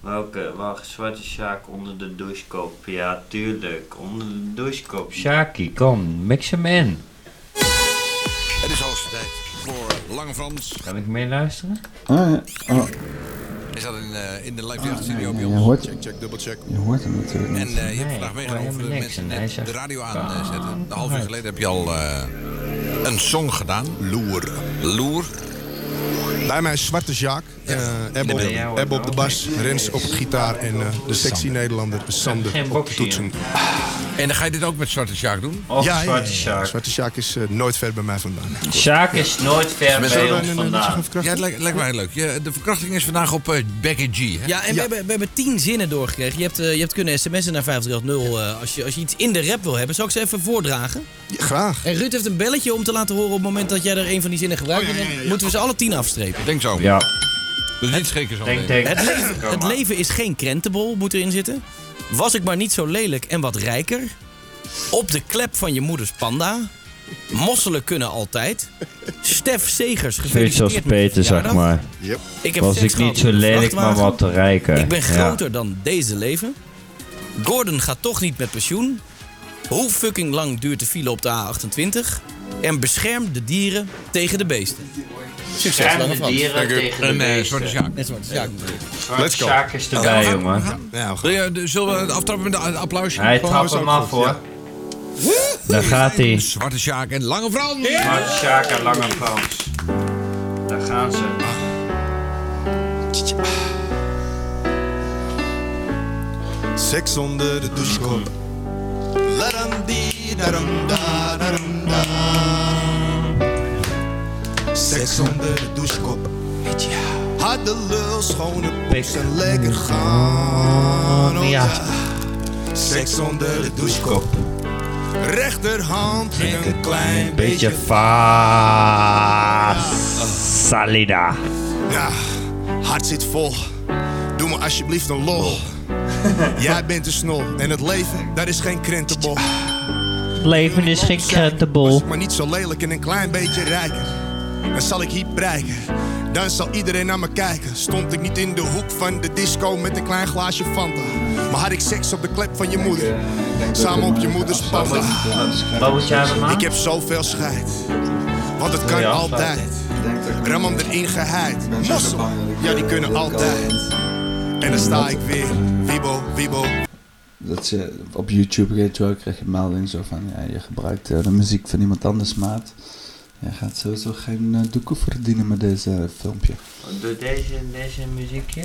C: Welke? Wacht, Zwarte Sjaak onder de douchekop. Ja, tuurlijk, onder de douchekop. Sjaakie, kom, mix hem in.
D: Het is hoogste tijd voor Lange Frans.
C: Kan ik mee luisteren?
B: Oh, ja. oh,
D: Hij staat in, eh, in de live
C: Ah,
D: theater
B: nee,
D: studio
B: nee,
D: bij
B: je hoort-
D: ons. Check, check, double check.
B: je hoort hem natuurlijk
D: En
B: niet.
D: eh,
C: Nee,
D: je hebt vandaag
C: ik hoor
D: meegenomen voor de
C: helemaal
D: mensen
C: niks Ah. en hij
D: net
C: zegt,
D: de radio aanzetten. Een half uur geleden heb je al eh, een song gedaan. Loer. Loer.
E: Bij mij is Zwarte Jaak, Ebbe
C: Ben jij hoor,
E: Eb op de bas, Rens op de gitaar en eh, de sexy Nederlander Sander
C: Geen
E: op de
C: boxie,
E: toetsen.
D: En dan ga je dit ook met Zwarte Sjaak doen?
C: Of
E: Ja, ja, ja,
C: Zwarte
E: ja.
C: Sjaak.
E: Zwarte Jaak is eh, nooit ver bij mij vandaan.
C: Sjaak is nooit ver
D: Zullen
C: bij
D: we
C: ons
E: een liedje
C: vandaan.
E: gaan verkrachten?
D: Ja, het lijkt, lijkt mij leuk. Ja, de verkrachting is vandaag op eh, Becky G. Hè?
F: Ja, en We, hebben, we hebben tien zinnen doorgekregen. Je hebt, eh, je hebt kunnen sms'en naar 530 eh, als, je, als je iets in de rap wil hebben. Zal ik ze even voordragen?
E: Ja, Graag.
F: En Ruud heeft een belletje om te laten horen op het moment dat jij er een van die zinnen
C: Oh,
F: gebruikt. En dan Moeten we ze alle tien afstrepen.
D: Denk zo.
C: Ja,
D: Dus niet schrikken zo.
C: denk,
D: meteen.
C: denk.
F: Het leven,
C: Kom
F: het
C: maar.
F: leven is geen krentenbol, moet erin zitten. Was ik maar niet zo lelijk en wat rijker. Op de klep van je moeders panda. Mosselen kunnen altijd. Stef Segers,
C: Zoiets
F: gefeliciteerd
C: als
F: met je
C: Peter, zeg
F: verjaardag.
C: maar.
E: Yep.
F: Ik heb
C: Was
F: seks
C: ik
F: gehad
C: niet zo
F: op een
C: lelijk, maar
F: vrachtwagen.
C: wat te rijker.
F: Ik ben
C: Ja.
F: groter dan deze leven. Gordon gaat toch niet met pensioen. Hoe fucking lang duurt de file op de A28? En bescherm de dieren tegen de beesten. Succes,
C: Ruim
F: lange
C: de
F: Frans.
C: dieren tegen
D: Een
C: de
D: eh, Zwarte
C: beesten.
D: Sjaak.
F: Net zwart, ja.
C: Zwarte
E: Let's go.
C: Sjaak is erbij, jongen.
E: Ja, we gaan.
D: Wil je- de- Zullen we aftrappen met een applausje?
C: Hij
D: Gewoon?
C: trapt hem af, hoor.
E: Ja.
C: Daar gaat hij.
D: Zwarte Sjaak en Lange Frans.
C: Zwarte Sjaak en Lange Frans. Daar gaan ze.
E: Seks onder de douchekop. Larandi, daram, da, daram, da. Seks onder de douchekop. Had de lul schone poes en lekker gaan. Oh, ja. Seks onder de douchekop. Rechterhand met een klein beetje.
C: Beetje fa-salida.
E: Ja, hart zit vol. Doe me alsjeblieft een lol. Jij bent de snol en het leven, dat is geen krentenbol.
C: Leven is geen
E: Was
C: krentenbol.
E: ik maar niet zo lelijk en een klein beetje rijker. Dan zal ik hier prijken. Dan zal iedereen naar me kijken. Stond ik niet in de hoek van de disco met een klein glaasje Fanta. Maar had ik seks op de klep van je moeder. Samen op je moeders panda.
C: Wat moet jij hebben, man?
E: Ik heb zoveel scheid. Want het kan
C: Ja.
E: altijd. Ramam erin geheid. Mossel. Ja, die kunnen altijd. En dan sta ik weer. Wiebo, wiebo.
B: Dat ze op YouTube weet je wel, krijg je een melding zo van ja, je gebruikt eh, de muziek van iemand anders maat. Je gaat sowieso geen eh, doeken verdienen met deze eh, filmpje.
C: Doe deze, deze muziekje.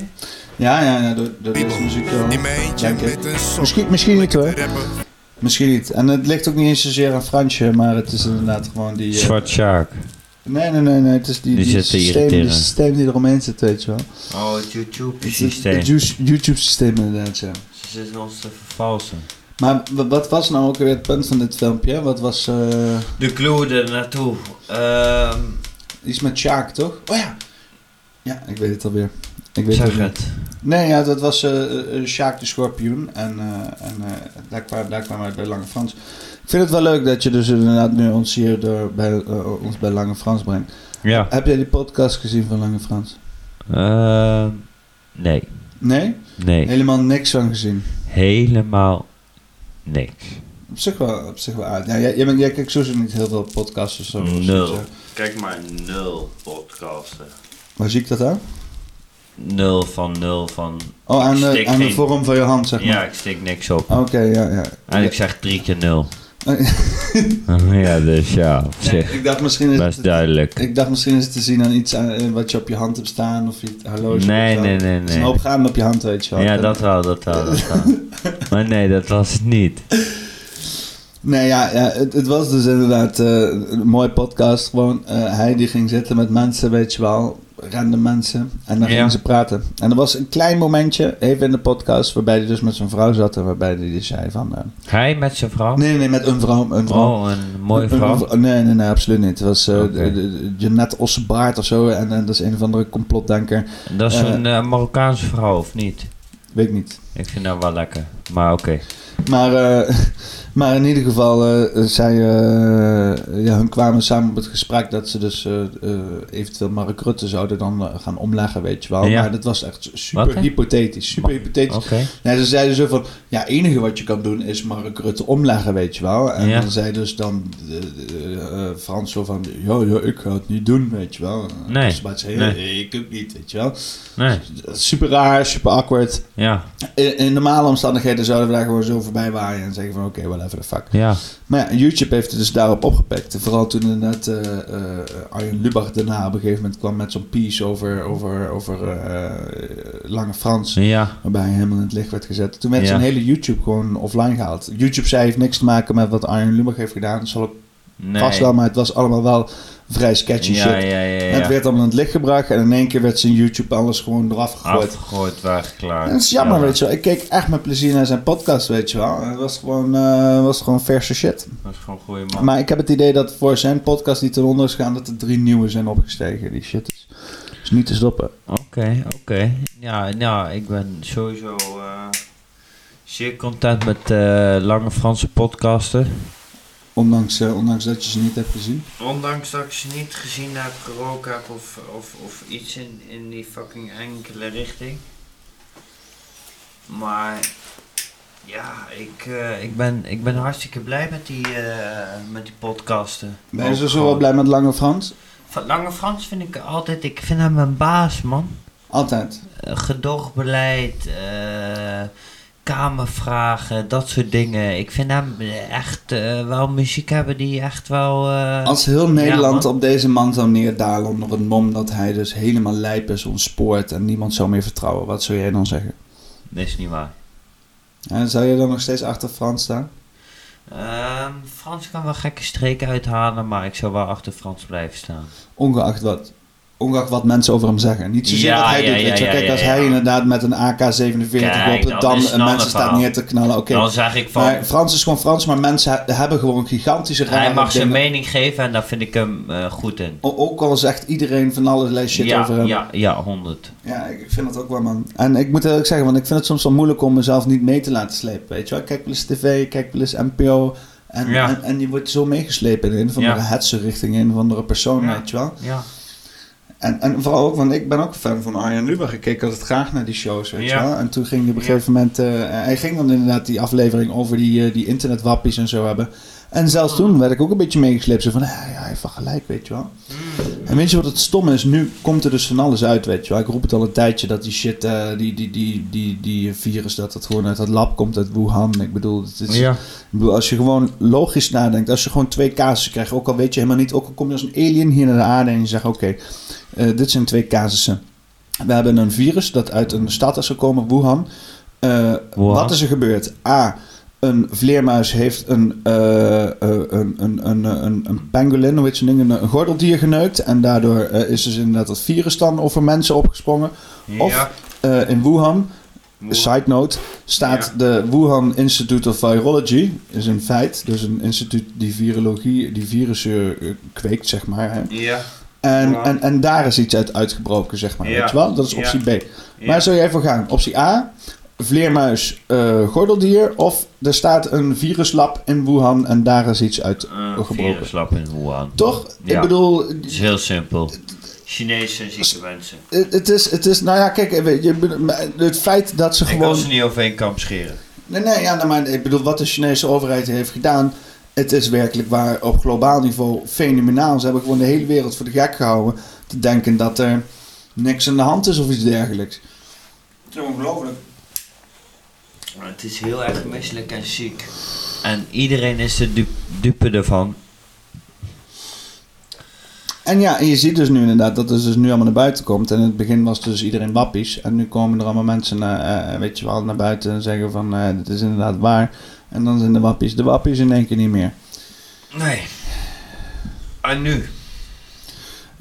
B: Ja, ja, ja, door, door deze muziek wel.
E: In mijn eentje
B: Ja, ik-
E: met een sok.
B: Misschien, misschien niet hoor.
E: Rappen.
B: Misschien niet. En het ligt ook niet eens zozeer aan Fransje, maar het is inderdaad gewoon die. eh,
C: Zwart Sjaak.
B: nee, nee, nee, nee. Het is die,
C: Die
B: die,
C: zit te
B: systeem, die
C: irriteren.
B: systeem die eromheen zit, weet je wel.
C: Oh, het YouTube-systeem.
B: Het YouTube-systeem inderdaad, ja.
C: Ze zitten ons te vervalsen.
B: Maar wa- wat was nou ook weer het punt van dit filmpje? Wat was eh,
C: De clue er naartoe. Ehm,
B: iets met Sjaak, toch? Oh ja. Ja, ik weet het alweer. Ik weet
C: zeg
B: het.
C: het.
B: niet. Nee, ja, dat was eh eh, Sjaak de Schorpioen. En, eh, en eh, daar, kwam, daar kwam uit bij Lange Frans. Ik vind het wel leuk dat je dus inderdaad nu ons hier door, bij, eh, ons bij Lange Frans brengt.
C: Ja.
B: Heb jij die podcast gezien van Lange Frans?
C: Ehm, nee.
B: Nee?
C: Nee.
B: Helemaal niks van gezien.
C: Helemaal niks.
B: Op zich wel, op zich wel aardig. Ja, jij, jij, bent- jij kijkt sowieso niet heel veel podcasts of zo.
C: Nul. Kijk maar, nul podcasten.
B: Waar zie ik dat aan?
C: Nul van nul van...
B: Oh, aan de,
C: Steek
B: aan de
C: geen-
B: vorm van je hand, zeg maar. Ah,
C: Ja, ik steek niks op.
B: Oké, ja, ja.
C: En ik zeg drie keer nul.
B: Oh,
C: ja, dus ja, op
B: Nee,
C: zich.
B: ik, dacht misschien is
C: Best
B: het,
C: duidelijk.
B: ik dacht misschien is het te zien aan iets aan, eh, wat je op je hand hebt staan of je horloge.
C: Nee,
B: of zo.
C: nee, nee,
B: Het is een
C: nee.
B: hoop gaande op je hand, weet je wel.
C: Ja,
B: En-
C: dat wel, dat wel, dat wel. Maar nee, dat was het niet.
B: Nee, ja, ja het, het was dus inderdaad eh, een mooie podcast. Gewoon, eh, hij die ging zitten met mensen, weet je wel. Random mensen. En dan
C: Ja.
B: gingen ze praten. En er was een klein momentje, even in de podcast, waarbij hij dus met zijn vrouw zat. En waarbij hij dus zei van... eh,
C: Hij met zijn vrouw?
B: nee, nee, met een vrouw. Een vrouw.
C: Oh, een mooie
B: Een- een
C: vrouw.
B: vrou- Nee, nee, nee, absoluut niet. Het was eh
C: Oké.
B: de- de- Jeanette Ossebaard of zo. En, en dat is een of andere complotdenker.
C: Dat is
B: Eh,
C: een eh, Marokkaanse vrouw, of niet?
B: Weet ik niet.
C: Ik vind dat wel lekker. Maar oké.
B: Maar, eh, maar in ieder geval, eh, zij, eh, ja, hun kwamen samen op het gesprek dat ze dus eh, eh, eventueel Mark Rutte zouden dan eh, gaan omleggen, weet je wel.
C: Ja.
B: Maar dat was echt super
C: Wat, hè?
B: hypothetisch, super hypothetisch.
C: Oké.
B: Nee, ze zeiden zo van, ja, het enige wat je kan doen is Mark Rutte omleggen, weet je wel. En
C: Ja.
B: dan zei dus dan eh, eh, eh, Frans zo van, ja, ja, ik ga het niet doen, weet je wel. En
C: Nee.
B: Smaat zei,
C: Nee.
B: "Nee, ik ook niet, weet je wel.
C: Nee.
B: Super raar, super awkward.
C: Ja.
B: In, in normale omstandigheden zouden we daar gewoon zo voorbij waaien en zeggen van, oké, whatever the fuck.
C: Ja.
B: Maar ja, YouTube heeft het dus daarop opgepikt. Vooral toen inderdaad eh eh, Arjen Lubach daarna op een gegeven moment kwam met zo'n piece over, over, over eh, Lange Frans.
C: Ja.
B: Waarbij hij helemaal in het licht werd gezet. Toen werd
C: Ja.
B: zijn hele YouTube gewoon offline gehaald. YouTube zei heeft niks te maken met wat Arjen Lubach heeft gedaan. Dat zal ook
C: Nee.
B: vast wel, maar het was allemaal wel vrij sketchy
C: ja,
B: shit.
C: ja, ja, ja.
B: Het werd allemaal in het licht gebracht en in één keer werd zijn YouTube alles gewoon eraf gegooid.
C: Afgegooid, weg, klaar.
B: En het is jammer,
C: Ja,
B: weet je wel. Ik keek echt met plezier naar zijn podcast, weet je wel. Het was gewoon, eh, was gewoon verse shit.
C: Dat is gewoon een goede man.
B: Maar ik heb het idee dat voor zijn podcast die ten onder is gegaan, dat er drie nieuwe zijn opgestegen. Die shit is, is niet te stoppen.
C: Oké, oké. Ja, nou, ik ben sowieso eh, zeer content met eh, lange Franse podcasten.
B: Ondanks, eh, ondanks dat je ze niet hebt gezien.
A: Ondanks dat ik ze niet gezien heb, geroken heb of, of, of iets in, in die fucking enkele richting. Maar ja, ik, eh, ik, ben, ik ben hartstikke blij met die, eh, met die podcasten.
B: Ben je
A: Ook
B: zo zo dus wel
A: gewoon-
B: blij met Lange Frans?
A: Van Lange Frans vind ik altijd, ik vind hem een baas man.
B: Altijd.
A: Eh, gedoogbeleid, eh, kamervragen, dat soort dingen. Ik vind hem echt eh, wel muziek hebben die echt wel... eh,
B: Als heel Nederland
A: Ja,
B: op deze man zou neerdalen onder het mom dat hij dus helemaal lijp is, ontspoort en niemand zou meer vertrouwen, wat zou jij dan zeggen?
C: Dat is niet waar.
B: En zou je dan nog steeds achter Frans staan?
A: Ehm, Frans kan wel gekke streken uithalen, maar ik zou wel achter Frans blijven staan.
B: Ongeacht wat. Ongeacht wat mensen over hem zeggen. Niet zozeer
C: Ja,
B: wat hij
C: ja,
B: doet.
C: ja,
B: weet je. wel.
C: ja,
B: Kijk,
C: ja,
B: als
C: ja.
B: hij inderdaad met een AK-47
C: Kijk,
B: op de
C: dat
B: dam
C: is een
B: en mensen
C: ander
B: staat
C: verhaal.
B: neer te knallen. Oké,
C: Dan zeg ik van,
B: Maar Frans is gewoon Frans, maar mensen he- hebben gewoon gigantische rare
C: hij mag zijn
B: dingen.
C: mening geven en daar vind ik hem eh, goed in.
B: O- Ook al zegt iedereen van allerlei shit
C: ja,
B: over hem. Ja,
C: ja, ja, 100.
B: ik ik vind dat ook wel, man. En ik moet eerlijk zeggen, want ik vind het soms wel moeilijk om mezelf niet mee te laten slepen, weet je wel. Ik Kijk wel eens tv, ik kijk wel eens NPO. En,
C: Ja.
B: en, en je wordt zo meegeslepen in een of andere
C: Ja.
B: hetze richting een of andere persoon,
C: Ja.
B: weet je wel.
C: Ja.
B: En, en vooral ook, want ik ben ook fan van Arjen Lubach. Ik keek altijd graag naar die shows, weet
C: Ja.
B: je wel. En toen ging hij op een gegeven moment... eh, hij ging dan inderdaad die aflevering over die, eh, die internetwappies en zo hebben. En zelfs toen werd ik ook een beetje meegesleept. Zo van, ja, ja, hij heeft wel gelijk, weet je wel.
C: Mm.
B: En weet je wat het stomme is? Nu komt er dus van alles uit, weet je wel. Ik roep het al een tijdje dat die shit, eh, die, die, die, die, die virus... dat dat gewoon uit dat lab komt, uit Wuhan. Ik bedoel, het is,
C: Ja.
B: ik bedoel, als je gewoon logisch nadenkt, als je gewoon twee casussen krijgt, ook al weet je helemaal niet, ook al kom je als een alien hier naar de aarde en je zegt: Oké, eh, dit zijn twee casussen. We hebben een virus dat uit een stad is gekomen, Wuhan. Eh,
C: Wuhan.
B: Wat is er gebeurd? A. Een vleermuis heeft een, eh, eh, een, een, een, een, een pangolin, hoe heet zo'n ding, een, een gordeldier geneukt. En daardoor eh, is dus inderdaad dat virus dan over mensen opgesprongen. Of
C: Ja.
B: eh, in Wuhan, side note, staat de Wuhan Institute of Virology, is een feit, dus een instituut die virologie, die virussen eh, kweekt, zeg maar. Hè.
A: Ja.
B: En,
A: Ja.
B: en, en daar is iets uit uitgebroken, zeg maar.
A: Ja.
B: Weet je wel? Dat is
A: Ja.
B: optie B. Maar zou jij voor gaan? Optie A, vleermuis, eh, gordeldier, of er staat een viruslab in Wuhan en daar is iets uit
C: Uh,
B: gebroken.
C: viruslab in Wuhan.
B: Toch?
C: Ja.
B: Ik bedoel,
C: Het is heel simpel. Chinees zijn zieke mensen.
B: het het is, het is, nou ja, kijk, eh, je, bedoel, maar het feit dat ze
C: Ik
B: gewoon...
C: wil ze niet over één kamp scheren.
B: Nee, nee, ja, nou, maar ik bedoel, wat de Chinese overheid heeft gedaan. Het is werkelijk waar op globaal niveau fenomenaal. Ze hebben gewoon de hele wereld voor de gek gehouden. Te denken dat er niks aan de hand is of iets dergelijks. Het is ongelooflijk.
C: Maar Het is heel erg misselijk en ziek. En iedereen is de du- dupe ervan.
B: En ja, en je ziet dus nu inderdaad dat het dus nu allemaal naar buiten komt. En in het begin was dus iedereen wappies. En nu komen er allemaal mensen eh, eh, weet je wel, naar buiten en zeggen van eh dit is inderdaad waar. En dan zijn de wappies de wappies in één keer niet meer.
C: Nee. En nu?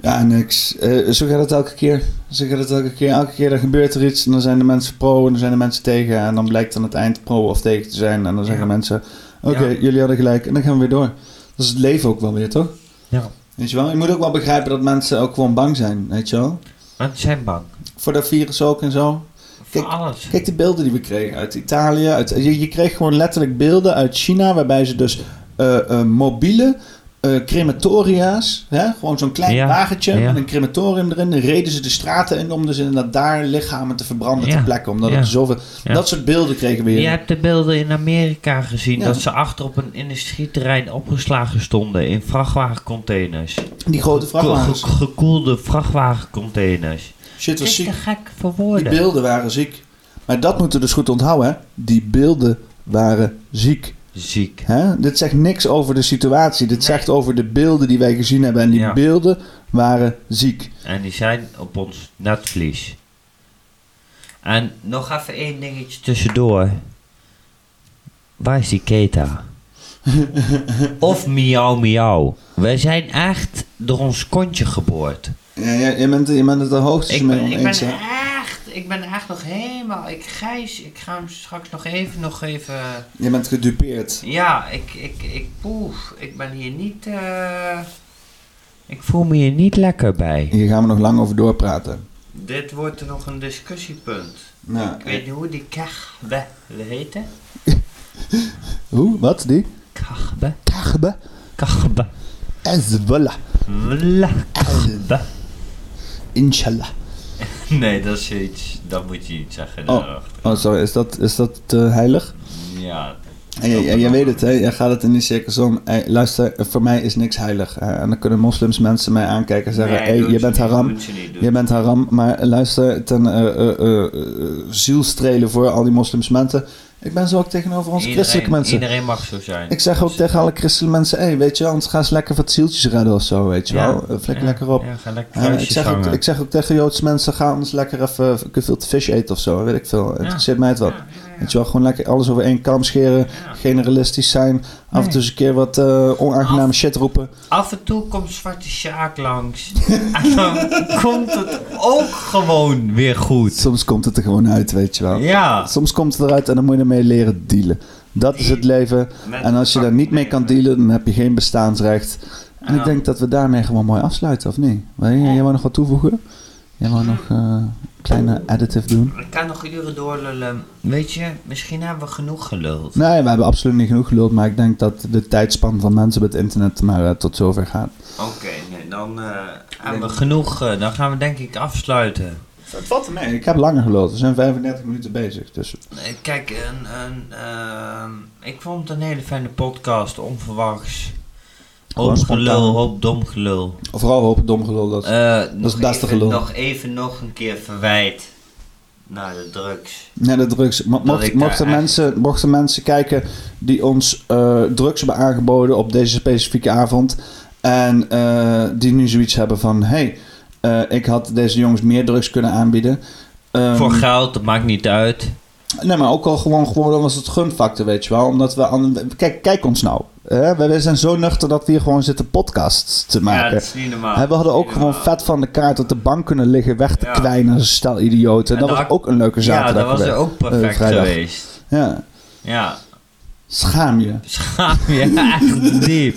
B: Ja, niks. Eh, zo gaat het elke keer. Zo gaat het elke keer. Elke keer er gebeurt er iets en dan zijn de mensen pro en dan zijn de mensen tegen. En dan blijkt aan het eind pro of tegen te zijn. En dan zeggen mensen, oké,
C: Ja.
B: jullie hadden gelijk. En dan gaan we weer door. Dat is het leven ook wel weer, toch?
C: Ja.
B: Weet je wel? Je moet ook wel begrijpen dat mensen ook gewoon bang zijn, weet je wel?
C: Mensen zijn bang.
B: Voor dat virus ook en zo. Kijk,
C: alles.
B: Kijk de beelden die we kregen uit Italië. Uit, je, je kreeg gewoon letterlijk beelden uit China, waarbij ze dus eh, eh, mobiele eh, crematoria's, hè, gewoon zo'n klein
C: Ja,
B: wagentje
C: ja.
B: met een crematorium erin, reden ze de straten in om dus inderdaad daar lichamen te verbranden te
C: Ja,
B: ter plekke. Omdat
C: ja.
B: het zoveel,
C: Ja.
B: Dat soort beelden kregen we hier.
C: Je hebt de beelden in Amerika gezien
B: Ja.
C: dat ze achter op een industrieterrein opgeslagen stonden in vrachtwagencontainers.
B: Die grote vrachtwagens.
C: Ge- ge- gekoelde vrachtwagencontainers. Dat
B: Shit was
C: is te
B: ziek.
C: gek voor
B: Die
C: woorden.
B: beelden waren ziek. Maar dat moeten we dus goed onthouden, hè. Die beelden waren ziek.
C: Ziek.
B: Hè? Dit zegt niks over de situatie. Dit zegt over de beelden die wij gezien hebben. En die
C: Ja.
B: beelden waren ziek.
C: En die zijn op ons netvlies. En nog even één dingetje tussendoor. Waar is die Keta? of miauw miauw. Wij zijn echt door ons kontje geboord.
B: Ja, ja, je, bent, je bent het er hoogstens
C: Ik
B: mee
C: ben,
B: oneens.
C: ik ben
B: hè?
C: echt, ik ben echt nog helemaal, ik grijs, ik ga hem straks nog even, nog even,
B: Je bent gedupeerd.
C: ja, ik, ik, ik, poef, ik ben hier niet, eh, ik voel me hier niet lekker bij.
B: Hier gaan we nog lang over doorpraten.
C: Dit wordt nog een discussiepunt.
B: Nou,
C: Ik weet niet hoe die kachbe heette.
B: Hoe? Wat? Die?
C: Kachbe,
B: Kagbe.
C: kachbe,
B: Ezwalla.
C: wla, kachbe.
B: Inshallah.
C: Nee, dat is iets, dat moet je niet zeggen.
B: Oh, oh sorry. Is dat, is dat te heilig?
C: Ja.
B: En je, je- je weet het, hè? Jij gaat het in die cirkels om. Hey, luister, voor mij is niks heilig. hè. en dan kunnen moslims mensen mij aankijken en zeggen: hey, je bent haram. Je bent haram, maar luister, ten eh, eh, eh, eh, zielstrelen voor al die moslimsmensen. Ik ben zo ook tegenover onze christelijke mensen.
C: Iedereen mag zo zijn.
B: Ik zeg ook tegen alle christelijke mensen, hé, weet je wel, anders ga eens lekker wat zieltjes redden of zo, weet je
C: Ja.
B: wel. Eh, Flik lekker op.
C: Ja, ga lekker
B: Eh, ik, zeg ook, ik zeg ook tegen Joodse mensen, ga anders lekker even gevild vis eten of zo, weet ik veel. Het interesseert mij het wel. Weet je wel, gewoon lekker alles over één kam scheren, generalistisch zijn, af en toe eens een keer wat eh, onaangename shit roepen.
C: Af en toe komt Zwarte Sjaak langs. en dan komt het ook gewoon weer goed.
B: Soms komt het er gewoon uit, weet je wel.
C: Ja.
B: Soms komt het eruit en dan moet je ermee leren dealen. Dat is het leven.
C: Met
B: En als je daar niet mee kan dealen, dan heb je geen bestaansrecht. En ik
C: Ja.
B: denk dat we daarmee gewoon mooi afsluiten, of niet? Wil je, jij wou nog wat toevoegen? Jij wou nog eh, een kleine additive doen?
C: Ik kan nog uren doorlullen. Weet je, misschien hebben we genoeg geluld.
B: Nee, we hebben absoluut niet genoeg geluld, maar ik denk dat de tijdspan van mensen op het internet maar eh, tot zover gaat.
C: Oké, nee, dan eh, hebben we genoeg. eh, dan gaan we denk ik afsluiten.
B: Het valt er mee. Ik heb langer geluld. We zijn 35 minuten bezig. Dus
C: Eh, Kijk, een, een, ehm, ik vond het een hele fijne podcast, onverwachts.
B: Gewoon
C: Hoop gelul,
B: spontaan.
C: hoop dom gelul.
B: vooral hopen dom gelul dat.
C: Eh, nog
B: het beste
C: even,
B: gelul.
C: Nog even nog een keer verwijt naar de drugs.
B: Nee, de drugs. Mo- Mocht,
C: ik daar
B: mochten,
C: echt-
B: mensen, mochten mensen kijken die ons eh, drugs hebben aangeboden op deze specifieke avond. En eh, die nu zoiets hebben van: hé, hey, eh, ik had deze jongens meer drugs kunnen aanbieden. Ehm,
C: Voor geld, dat maakt niet uit.
B: Nee, maar ook al gewoon, gewoon dan was het gunfactor, weet je wel. Omdat we. aan- Kijk, kijk ons nou. hè? wij, wij zijn zo nuchter dat we hier gewoon zitten podcasts te
C: Ja,
B: maken.
C: dat is niet normaal.
B: Hè, we hadden ook
C: Ja.
B: gewoon vet van de kaart op de bank kunnen liggen, weg te
C: Ja.
B: kwijnen als een stel idioten.
C: En
B: dat
C: dan
B: was
C: had-
B: ook een leuke
C: Ja,
B: zaterdag.
C: dat was er
B: geweest.
C: ook perfect
B: Eh, vrijdag.
C: geweest.
B: Ja.
C: Ja,
B: Schaam je.
C: schaam je echt diep.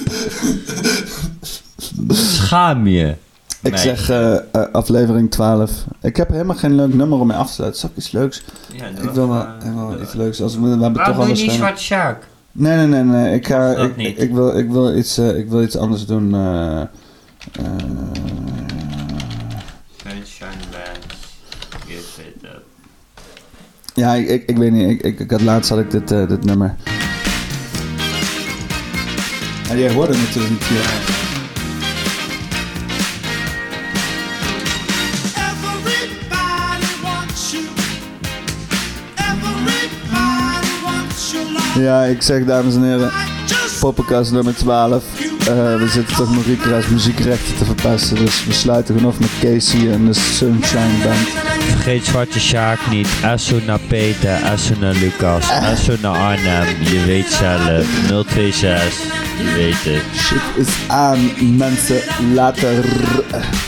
C: Schaam je.
B: Ik
C: Nee.
B: zeg eh, eh, aflevering 12. Ik heb helemaal geen leuk nummer om mee af te sluiten. Zal ik iets leuks?
C: Ja,
B: ik wil wel,
C: eh,
B: ik wil wel iets leuks. Als we, we hebben toch
C: Waarom doe je
B: anders
C: niet
B: stemmen.
C: Zwarte Sjaak?
B: Nee, nee, nee. nee. Ik, ga,
C: Dat
B: ik,
C: niet.
B: ik, wil, ik, wil iets, eh, ik wil iets anders doen. eh, eh,
C: Sunshine Bands, give it up.
B: ja, ik, ik, ik weet niet. Ik, ik, ik had laatst had ik dit, eh, dit nummer. En jij hoorde het natuurlijk niet hier. Ja, ik zeg dames en heren. Poppenkast nummer 12. Eh, we zitten toch nog Ricra's muziekrechten te verpesten. Dus we sluiten gewoon af met Casey en de Sunshine Band.
C: Vergeet Zwarte Sjaak niet. Esso naar Peter, Esso naar Lucas, Esso naar Arnhem. Je weet zelf. 026, je weet het.
B: Shit is aan, mensen. Later.